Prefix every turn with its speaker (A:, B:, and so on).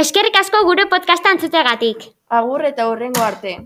A: Eskerrik asko gure podcasta entzuteagatik.
B: Agur eta hurrengo arte.